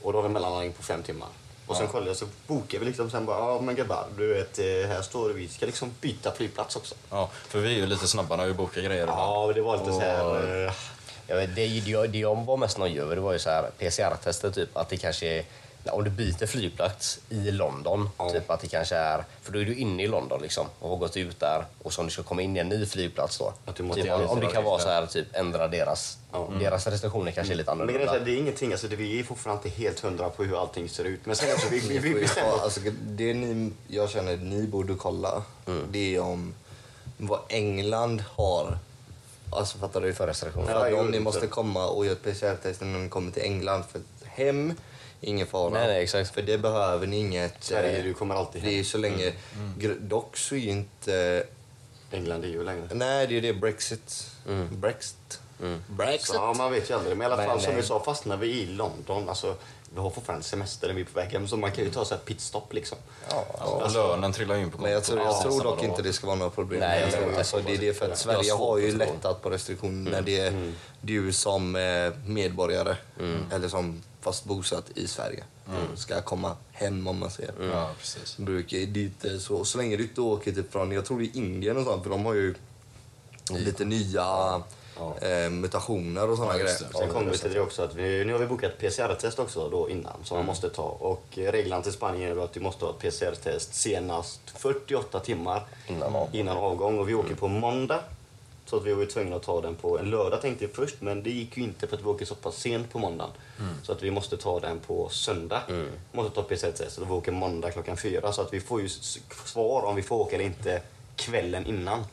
Och då har vi mellanlandning på fem timmar. Och sen kollar jag så bokar vi liksom sen bara, ja men gubbar, du vet, eh, här står det, vi ska liksom byta flygplats också. Ja, för vi är ju lite snabba när vi bokar grejer. Ja, men det var lite så här... eh, Jag vet, det, det, jag, det jag var mest nöjd över det var ju så här PCR-testet typ att det kanske är om du byter flygplats i London, typ att det kanske är... För då är du inne i London liksom och har gått ut där och så om du ska komma in i en ny flygplats då. Att du måste typ, göra om, om det lite kan vara där. så här, typ ändra deras... Mm. Deras restriktioner kanske är lite Mm. Men grejen är annorlunda. så här, det är ingenting, alltså, det, vi är fortfarande inte helt hundra på hur allting ser ut. Men sen också, vi, vi, *laughs* Ni vi får ju bestämde ta, alltså, det ni, jag känner att ni borde kolla Mm. det är om vad England har. Alltså fattar du? För restriktioner. För att Ja, om ni jo, måste så. komma och göra ett PCR-test när ni kommer till England. För att hem, ingen fara. Nej, nej, exakt. För det behöver ni inget. Sverige, eh, du kommer alltid hem. Mm. Det är ju så länge. gr- Dock så är ju inte... England är ju längre. Mm. Nej, det är ju det. Brexit. Brexit. Brexit. Så, ja, man vet ju aldrig. Men i alla Men, fall som vi eh, sa, fastnar vi i London, alltså vi har fortfarande semester, vi är på väg hem, så man kan ju ta så här pitstop liksom. Ja, Alltså, lönen trillar ju in på Men jag tror, kontot. jag Ja, tror samma dock dag. inte det ska vara några problem. Nej, jag tror inte. alltså, det är det för att Sverige Jag har har ju svårt att tro. lättat på restriktionerna. Det är du som eh, medborgare eller som fast bosatt i Sverige ska komma hem om man säger. Ja, precis. Brukar det är inte så. Så länge du inte åker typ från, jag tror det är Indien och sånt, för de har ju lite nya eh, mutationer och sådana grejer. Sen kommer vi till det också att vi, nu har vi bokat PCR-test också då innan som man måste ta. Och eh, reglerna till Spanien är då att du måste ha ett PCR-test senast 48 timmar Innan avgång. avgång. Och vi åker på måndag. Så att vi var ju tvungna att ta den på en lördag tänkte jag först men det gick ju inte för att vi åker så pass sent på måndagen. Mm. Så att vi måste ta den på söndag. Måste ta PCR-testet och vi åker måndag klockan fyra. Så att vi får ju s- svar om vi får åka eller inte kvällen innan.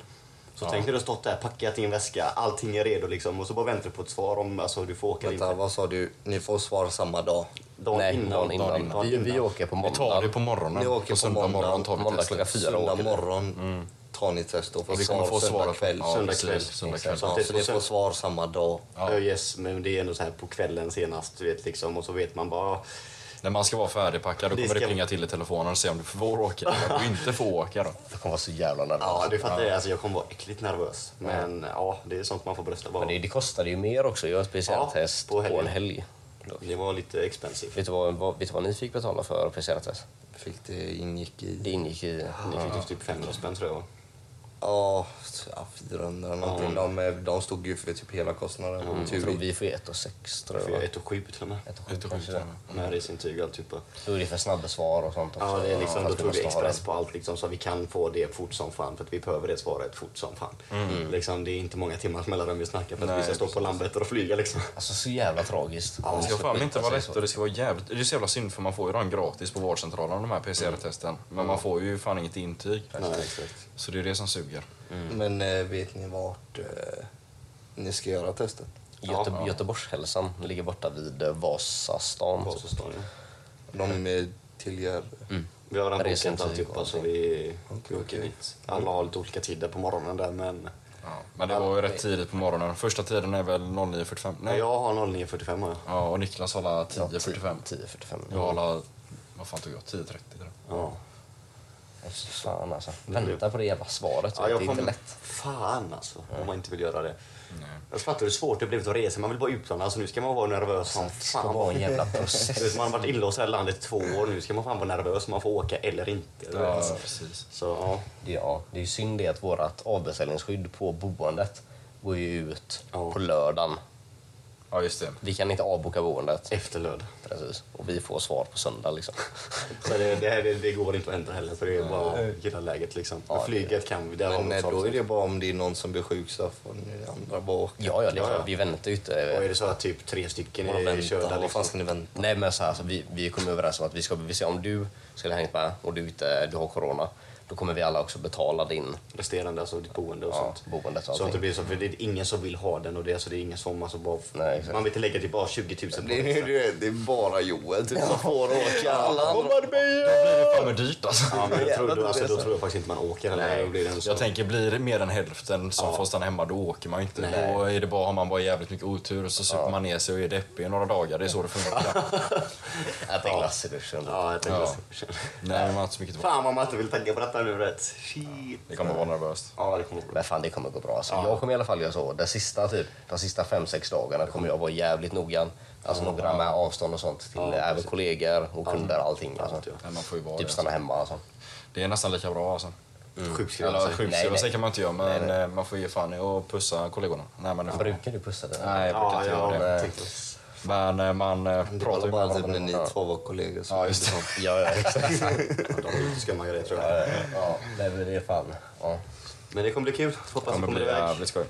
Så tänk när du har stått där, packat i en väska, allting är redo liksom och så bara väntar du på ett svar om alltså, du får åka eller Vänta, inte. vad sa du? Ni får svar samma dag. Dagen Nej, innan. dagen Eh, innan. Dagen innan. Vi, vi åker på Vi tar det måndag. på morgonen. Ni åker på på söndag måndag, morgon tar vi måndag testet. klockan fyra Söndag åker vi. morgon tar ni test och får Vi kommer svar få söndag svara på- kväll. ja, Söndag precis. kväll. Söndag Exakt. kväll. Ja, så ni får svar samma dag. Ja. yes, men det är ändå så här på kvällen senast, du vet liksom. Och så vet man bara... När man ska vara färdigpackad då Det kommer det ska- plinga till i telefonen och se om du får *laughs* åka eller du inte får åka. Då. Jag kommer vara så jävla nervös. Ja, du fattar det. Alltså, jag kommer vara äckligt nervös. Men ja, det är sånt man får brösta bara. Men det, Det... det kostade ju mer också att göra PCR-test Ja, på på, helgen. en helg. var lite expensive. Vet du, vad, vad, vet du vad ni fick betala för PCR-test? Fick det ingick Det i... ingick i... Ni fick typ 500 spänn tror jag. Ja, ja, 400 eller någonting. De, eh, de stod ju för typ hela kostnaden. Mm, Jag Mm, tror Tur. vi får ett och sex, tror jag. För det var. ett och sju till och med. Mm. Ett och Ut och sju, kanske skjuta. det. Med resintyg och alltihopa. Då är det för snabba svar och sånt också. Ja, det är liksom, Fast då vi tog vi måste ha den. express på allt liksom, så att vi kan få det fort som fan. För att vi behöver det svaret fort som fan. Liksom, det är inte många timmars mellanrum vi snackar för att Nej, vi ska stå på Landvetter och flyga liksom. Alltså så jävla tragiskt. Alltså, Det ska fan inte vara lätt och Det det ska vara jävligt... Det är så jävla synd för man får ju dem gratis på vårdcentralen de här PCR-testen. Men man får ju fan inget intyg. Nej, exakt. Så det är det som suger. Men eh, vet ni vart eh, ni ska göra testet? Göte Göteborgshälsan ligger borta vid eh, Vasastan. Vasastan, ja. De eh, tillgör... Vi har redan Resintyg bokat alltihopa och så vi Okej, åker okej. dit. Alla har lite olika tider på morgonen där men Ja, men det var ju rätt tidigt på morgonen. Första tiden är väl 09.45? Nej, Nej. jag har 09.45 har jag. Ja, typ. och Niklas har alla 10.45. 10.45. Jag har alla... Vad fan tog jag? 10.30? tror jag. Ja. Fy Fan alltså. Vänta på det jävla svaret. Ja, det jag är inte kommer... lätt. Fan alltså, om man inte vill göra det. Nej. Jag fattar hur svårt det blev att resa, man vill bara utomlands och nu ska man vara nervös som Det ska fan. vara en jävla Du vet, process. man har varit inlåst här i landet i två år nu, ska man fan vara nervös om man får åka eller inte. du Ja, alltså, vet. precis. Så ja, Det, ja, det är ju synd det att vårt avbeställningsskydd på boendet går ju ut Ja. på lördagen. Ja, just det. Vi kan inte avboka boendet. efter lördag. Precis. Och vi får svar på söndag liksom. *laughs* Så det, det, här- det, det går inte att ändra heller för det är bara gilla läget liksom. Men det- flyget kan vi, där har Men vi eh, också då är det avsnitt. bara om det är någon som blir sjuk så får ni andra bara åka. Ja, ja, det är Ja, klart. ja. Vi väntar ju Och inte. eh, är det så att typ tre stycken Bara är körda vänta. Vad liksom. fan ska ni vänta? Nej men så här, så vi, vi kommer överens om att vi ska, vi ser om du skulle hänga med och du, inte, du har corona, då kommer vi alla också betala din resterande, alltså ditt boende och ja, sånt. boendet och Så att det allting. blir så, för det är ingen som vill ha den och det, alltså det är ingen som, alltså bara, Nej, exakt. man vill inte lägga typ bara 20 000 på Det *laughs* det. är, det är- det är bara Joel typ, som får åka. Alla andra... Då blir det fan med dyrt alltså. Ja, men jag tror, Jävlar, då, alltså, det är då så. tror jag faktiskt inte man åker heller. Nej, Då blir det en sån- jag tänker blir det mer än hälften som Ja. får stanna hemma då åker man ju inte. Nej. Då är det bara, har man bara jävligt mycket otur och så super man ner sig och är deppig i några dagar. Det är så det *laughs* funkar. Äta glass i duschen. Ja, jag tänker Ja. så. *laughs* Nej, man har inte så mycket tillbaka. Fan vad man inte vill tänka på detta nu rätt. Shit. Det kommer vara nervöst. Ja, det kommer bli. Men fan det kommer gå bra. Alltså, Jag kommer i alla fall göra så. De sista, typ, de sista fem, sex dagarna kommer jag vara jävligt noggrann. Alltså noggrann med avstånd och sånt till eh, Ja, även precis. kollegor och kunder allting. Allt, Alltså. ja. Nej, man får ju vara Typ det. stanna hemma alltså. Det är nästan lika bra alltså. Mm. Sjukskriva Eller sig. sjukskriva nej. sig kan man inte göra men Nej, nej. eh, man får ge fan i och pussa kollegorna. Nej, men det får... Brukar du pussa dig? Nej, jag brukar Ja, inte ja, göra det. tänkte- Men eh, man eh, Det pratar var ju med bara typ varandra. när ni två var kollegor. Så. Ja, just *laughs* det. *laughs* Ja, ja, exakt. Ja, de ska man göra det tror jag. *laughs* ja, nej, men det är fan. Ja. Men det kommer bli kul. Hoppas Det det kommer kommer bli iväg. jävligt skoj.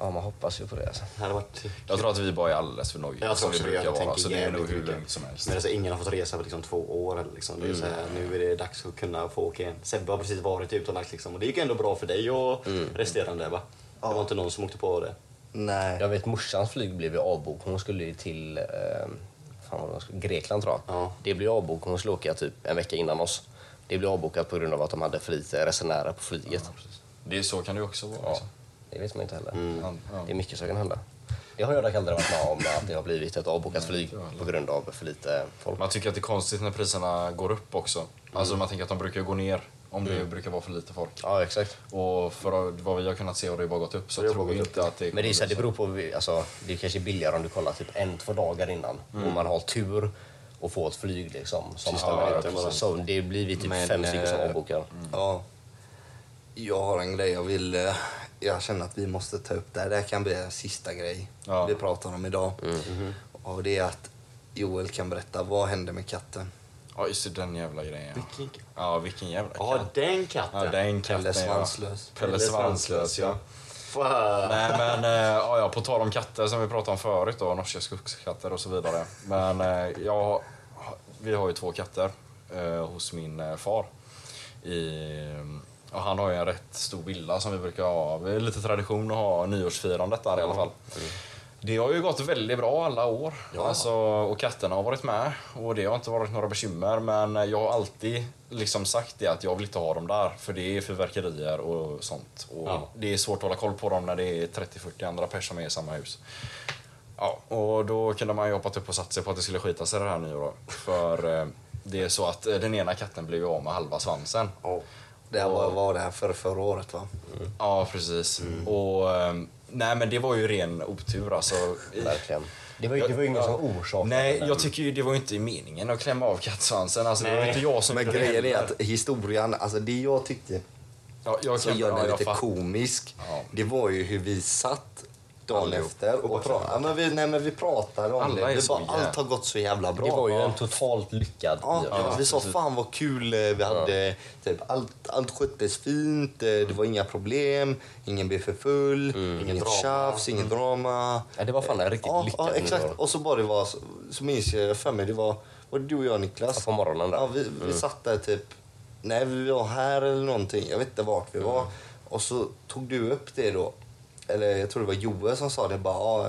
ja, man hoppas ju på det alltså. Det hade varit... Jag tror att vi bara är alldeles för nöjda Jag som tror vi också det. brukar Jag vara. Så tänker Alltså, det är nog jävligt hur mycket. lugnt som helst. Mm. Men alltså, ingen har fått resa på liksom två år. eller Liksom. Det är så här, nu är det dags att kunna få åka igen. Sebbe har precis varit utomlands liksom, och det gick ändå bra för dig och Mm. resterande. Va? Det var inte någon som åkte på det. Nej. Jag vet morsans flyg blev ju avbok. Hon skulle ju till eh, fan vad det var, Grekland tror jag. Ja. Det blev avbok. Hon skulle åka typ en vecka innan oss. Det blev avbokat på grund av att de hade för lite resenärer på flyget. Det är så kan det ju också vara. Ja, Liksom. det vet man inte heller. Ja. Mm. Det är mycket som kan hända. Det har jag dock aldrig varit med om att det har blivit ett avbokat flyg på grund av för lite folk. Man tycker att det är konstigt när priserna går upp också. Alltså Mm. man tänker att de brukar gå ner om det brukar vara för lite folk. Ja, exakt. Och för vad vi har kunnat se har det ju bara gått upp så Det jag har bara tror gått inte att det Men det är ju så här, det kommer beror på, alltså, det är kanske billigare om du kollar typ en, två dagar innan Mm. och man har tur och får ett flyg liksom. Som Sista har, minuten bara. så det blir vi typ Men, fem stycken som eh, avbokar. Mm. Ja. Jag har en grej jag vill... eh, Jag känner att vi måste ta upp det här. Det här kan bli en sista grej Ja. vi pratar om idag. Mm-hmm. Och det är att Joel kan berätta vad hände med katten. Ja, just det, den jävla grejen. ja. Vilken- Ja, vilken jävla Ja, katt. den katten. Ja, den katten, Pelle ja. Svanslös. Pelle Svanslös, ja. Fan. Nej men eh, ja, ja, på tal om katter som vi pratade om förut då, norska skogskatter och så vidare. Men eh, jag, vi har ju två katter eh, hos min eh, far. I, och han har ju en rätt stor villa som vi brukar ha. Vi är lite tradition att ha nyårsfirandet där i alla fall. Det har ju gått väldigt bra alla år. Alltså, och katterna har varit med. Och det har inte varit några bekymmer. Men jag har alltid liksom sagt det att jag vill inte ha dem där. För det är fyrverkerier och sånt. Och Ja. Det är svårt att hålla koll på dem när det är 30-40 andra personer som är i samma hus. Ja, och då kunde man ju hoppat upp och satt sig på att det skulle skita sig det här nu då. För eh, det är så att eh, den ena katten blev ju av med halva svansen. Ja. Det här var, vad var det här för förra året va? Ja, precis. Och eh, nej men det var ju ren otur alltså. Verkligen. Det var ju, det var ju ingen som orsakade Nej, det. jag tycker ju det var ju inte meningen att klämma av kattsvansen. Alltså, det var ju Nej. inte jag som Men gjorde grejen är heller. att historien, alltså det jag tyckte Ja, jag som klämde, gör ja, den jag lite fatt- komisk, Ja. det var ju hur vi satt dagen Allihop. efter Och och bara, pratade. Ja, men vi, nej, men vi pratade om Alla det. är Vi så bara, jävla- allt har gått så jävla bra. Det var ju en totalt lyckad Ja, nyår. "Ah, vi sa fan vad kul eh, vi hade. Typ, allt, allt sköttes fint, eh, det var inga problem, ingen blev för full, inget drama. tjafs, inget drama. Mm. Eh, Ja, det var fan en riktigt Ja, lyckad ja, exakt. nyår. Och så bara det var, så, så minns jag för mig, det var, var det du och jag Niklas? Ja, på morgonen där. Ja, vi, vi satt där typ, nej vi var här eller någonting, jag vet inte vart vi var. Och så tog du upp det då, eller jag tror det var Joel som sa det bara, ja,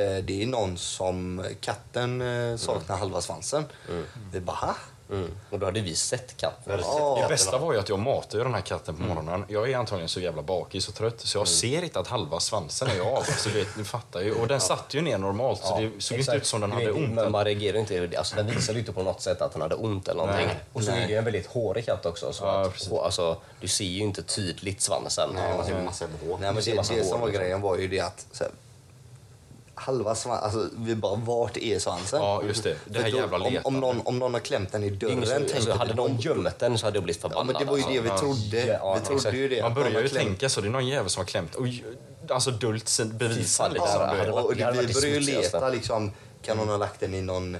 eh, det är någon som, katten eh, saknar halva svansen. Vi bara, "Ha?" Mm. Och då hade vi sett katten. När du Ja. sätter Det katterna. bästa var ju att jag matar ju den här katten på Mm. morgonen. Jag är antagligen så jävla bakis och trött så jag ser inte att halva svansen är av. Så du vet, ni fattar ju. Och den satt ju ner normalt så det såg inte exakt. ut som den Du hade vet, ont. Men man reagerar inte. Alltså, den visade ju inte på något sätt att den hade ont eller någonting. Nej. Och så är det ju en väldigt hårig katt också. Så Ja, att, precis. hår, alltså, du ser ju inte tydligt svansen. Alltså, Nej, man ser massa bråk. Nej, men ser det, massa det som hår, var liksom. grejen var ju det att så här, halva svansen, alltså vi bara vart är svansen? Ja, just det. Det här För då- jävla om, letandet. om, någon, om någon har klämt den i Det är dörren ingen som, tänkte alltså, vi, hade någon gömt den så hade jag blivit Ja, förbannad. men det var ju alltså. det Ja, vi trodde. ja, vi trodde exakt. ju det. Man att någon börjar har ju klämt- tänka så. Det är någon jävel som har klämt och alltså dolt sin bevisa fan, liksom. det Ja, hade och, varit- och det hade vi varit det började ju smutsigaste. leta liksom, kan någon ha lagt den i någon...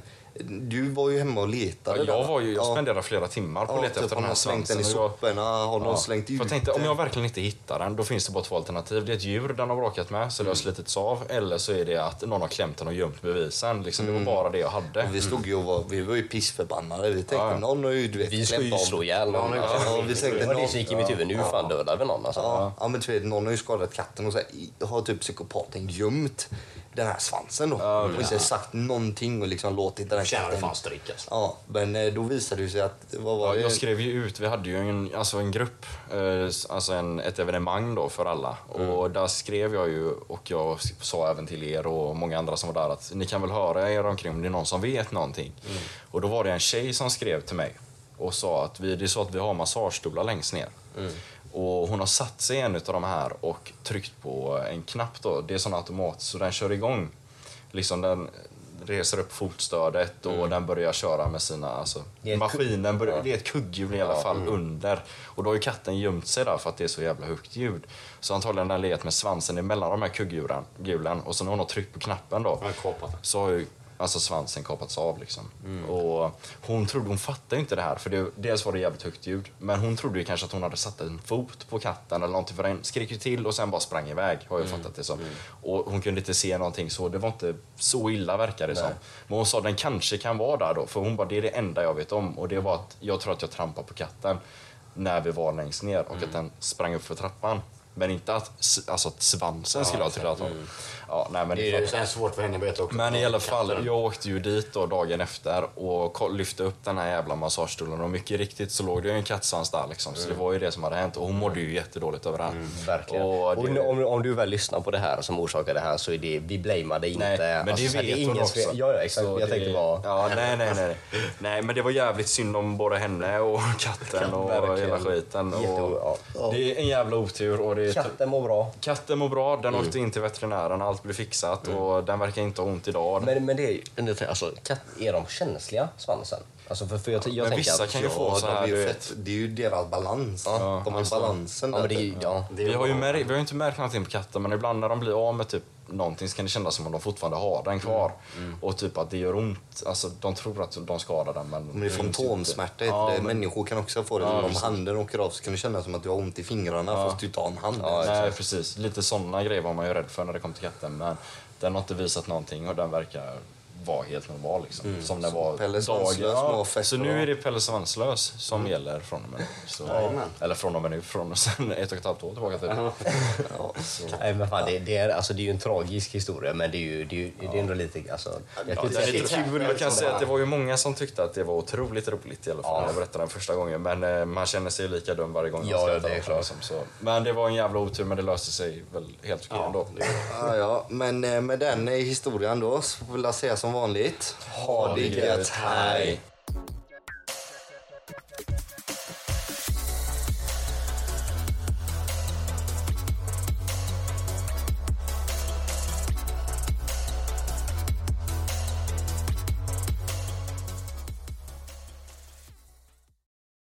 Du var ju hemma och Ja, letade. jag, där. var ju, jag Ja. spenderade flera timmar på att Ja, leta typ efter den om här någon slängt den svansen. i och jag- soporna, har någon slängt För jag ut tänkte, om den? jag verkligen inte hittar den, då finns det bara två alternativ. Det är ett djur den har bråkat med, så det har Mm. slitits av. Eller så är det att någon har klämt den och gömt bevisen. Liksom, Det var bara det jag hade. Mm. Och vi stod ju och var, vi var ju pissförbannade. Vi tänkte, Mm. Ja. någon har ju du vet, Vi skulle ju klämt av- slå ihjäl någon. Ja, alltså. vi tänkte, Det var det någon, som gick i mitt huvud. Nu fan dödar vi någon. Alltså. Ja, ja men du vet, någon har ju skadat katten och så här, i- har typ psykopaten gömt den här svansen då. och inte sagt någonting och liksom låtit den här Tjänar du katten... fan stryk alltså. Ja, men eh, då visade det sig att... Vad var Ja, det? jag skrev ju ut, vi hade ju en, alltså en grupp, eh, s- alltså en, ett evenemang då för alla. Mm. Och där skrev jag ju, och jag s- sa även till er och många andra som var där att ni kan väl höra er omkring om det är någon som vet någonting. Mm. Och då var det en tjej som skrev till mig och sa att vi, det är så att vi har massagestolar längst ner. Mm. Och hon har satt sig i en av de här och tryckt på en knapp då, det är sån automat så den kör igång. Liksom den reser upp fotstödet och den börjar köra med sina, alltså Mm. Det är ett maskinen börjar, det är ett kugghjul i alla fall Mm. under. Och då har ju katten gömt sig där för att det är så jävla högt ljud. Så antagligen har den legat med svansen emellan de här kugghjulen hjulen. och sen när hon har tryckt på knappen då Ja, kapat den. så har ju alltså svansen kapats av liksom. Och hon trodde, hon fattade ju inte det här för det, dels var det jävligt högt ljud men hon trodde ju kanske att hon hade satt en fot på katten eller någonting för den skrek ju till och sen bara sprang iväg har jag fattat det som. Och hon kunde inte se någonting så det var inte så illa verkar det som. Men hon sa den kanske kan vara där då för hon bara det är det enda jag vet om och det var Mm. att jag tror att jag trampade på katten när vi var längst ner och att den sprang upp för trappan. Men inte att, s- alltså, att svansen skulle ha trillat av. Ja, nej, men Mm. det, Det är är sen svårt för henne att veta också. men i alla fall, Katten. jag åkte ju dit då dagen efter och ko- lyfte upp den här jävla massagestolen och mycket riktigt så låg det ju en kattsvans där liksom. Så det var ju det som hade hänt och hon mådde ju jättedåligt över det här. Mm. Verkligen. Och Och det- om, om du väl lyssnar på det här som orsakar det här så är det, vi blamear dig inte. Nej, men det så vet här, alltså, är hon ingen också. Fel. Ja, ja, exakt. Så jag det- tänkte bara... Ja, nej, nej, nej. Nej, men det var jävligt synd om både henne och *laughs* katten och verkligen. hela skiten. Jätte- Och ja. det är en jävla otur och det är Katten mår bra. Katten mår bra, den Mm. åkte in till veterinären, allt blev fixat och den verkar inte ha ont idag. Men, Men, men det är ju... Alltså, katt, är de känsliga, svansen? Alltså, för, för jag, jag tänker vissa att, kan ju få Ja, så de här, är du ju vet. alltså. fett. Det är ju deras balans. de har ju balansen Ja, men det är där. typ. ju... Ja. Det är Vi har, ju bra. mär- vi har ju inte märkt någonting på katten men ibland när de blir av med typ någonting så kan det kännas som om de fortfarande har Mm. den kvar. Och typ att det gör ont. Alltså de tror att de skadar den men... typ. Men det är fantomsmärta. Ja, heter det. men- Människor kan också få det. om handen åker av så kan det kännas som att du har ont i fingrarna fast du inte har en hand. ens. Nej precis, lite sådana grejer var man ju rädd för när det kom till katten men den har inte visat någonting och den verkar vara helt normal liksom. Som den var Mm. Pelle Svanslös mår fett Mm. Så nu bra. är det Pelle Svanslös som gäller från och med nu. Så, Jajamän. eller från och med nu, från och *laughs* sen ett och ett halvt år tillbaka typ. till. Nej, men fan, det, det, är, alltså, det är ju en tragisk historia, men det är ju, det är ju det är ändå lite... Alltså, jag Ja, kan det är lite säga- kul. Jag kan säga att det var ju många som tyckte att det var otroligt roligt i alla fall när jag berättade den första gången. Men eh, man känner sig lika dum varje gång man Ja, ja, skrattar det är åt klart. liksom, så. Men det var en jävla otur men det löste sig väl helt okej ändå. Ja, ja. Men eh, med den eh, historien då så vill jag säga som vanligt. Ha det gött. Hej!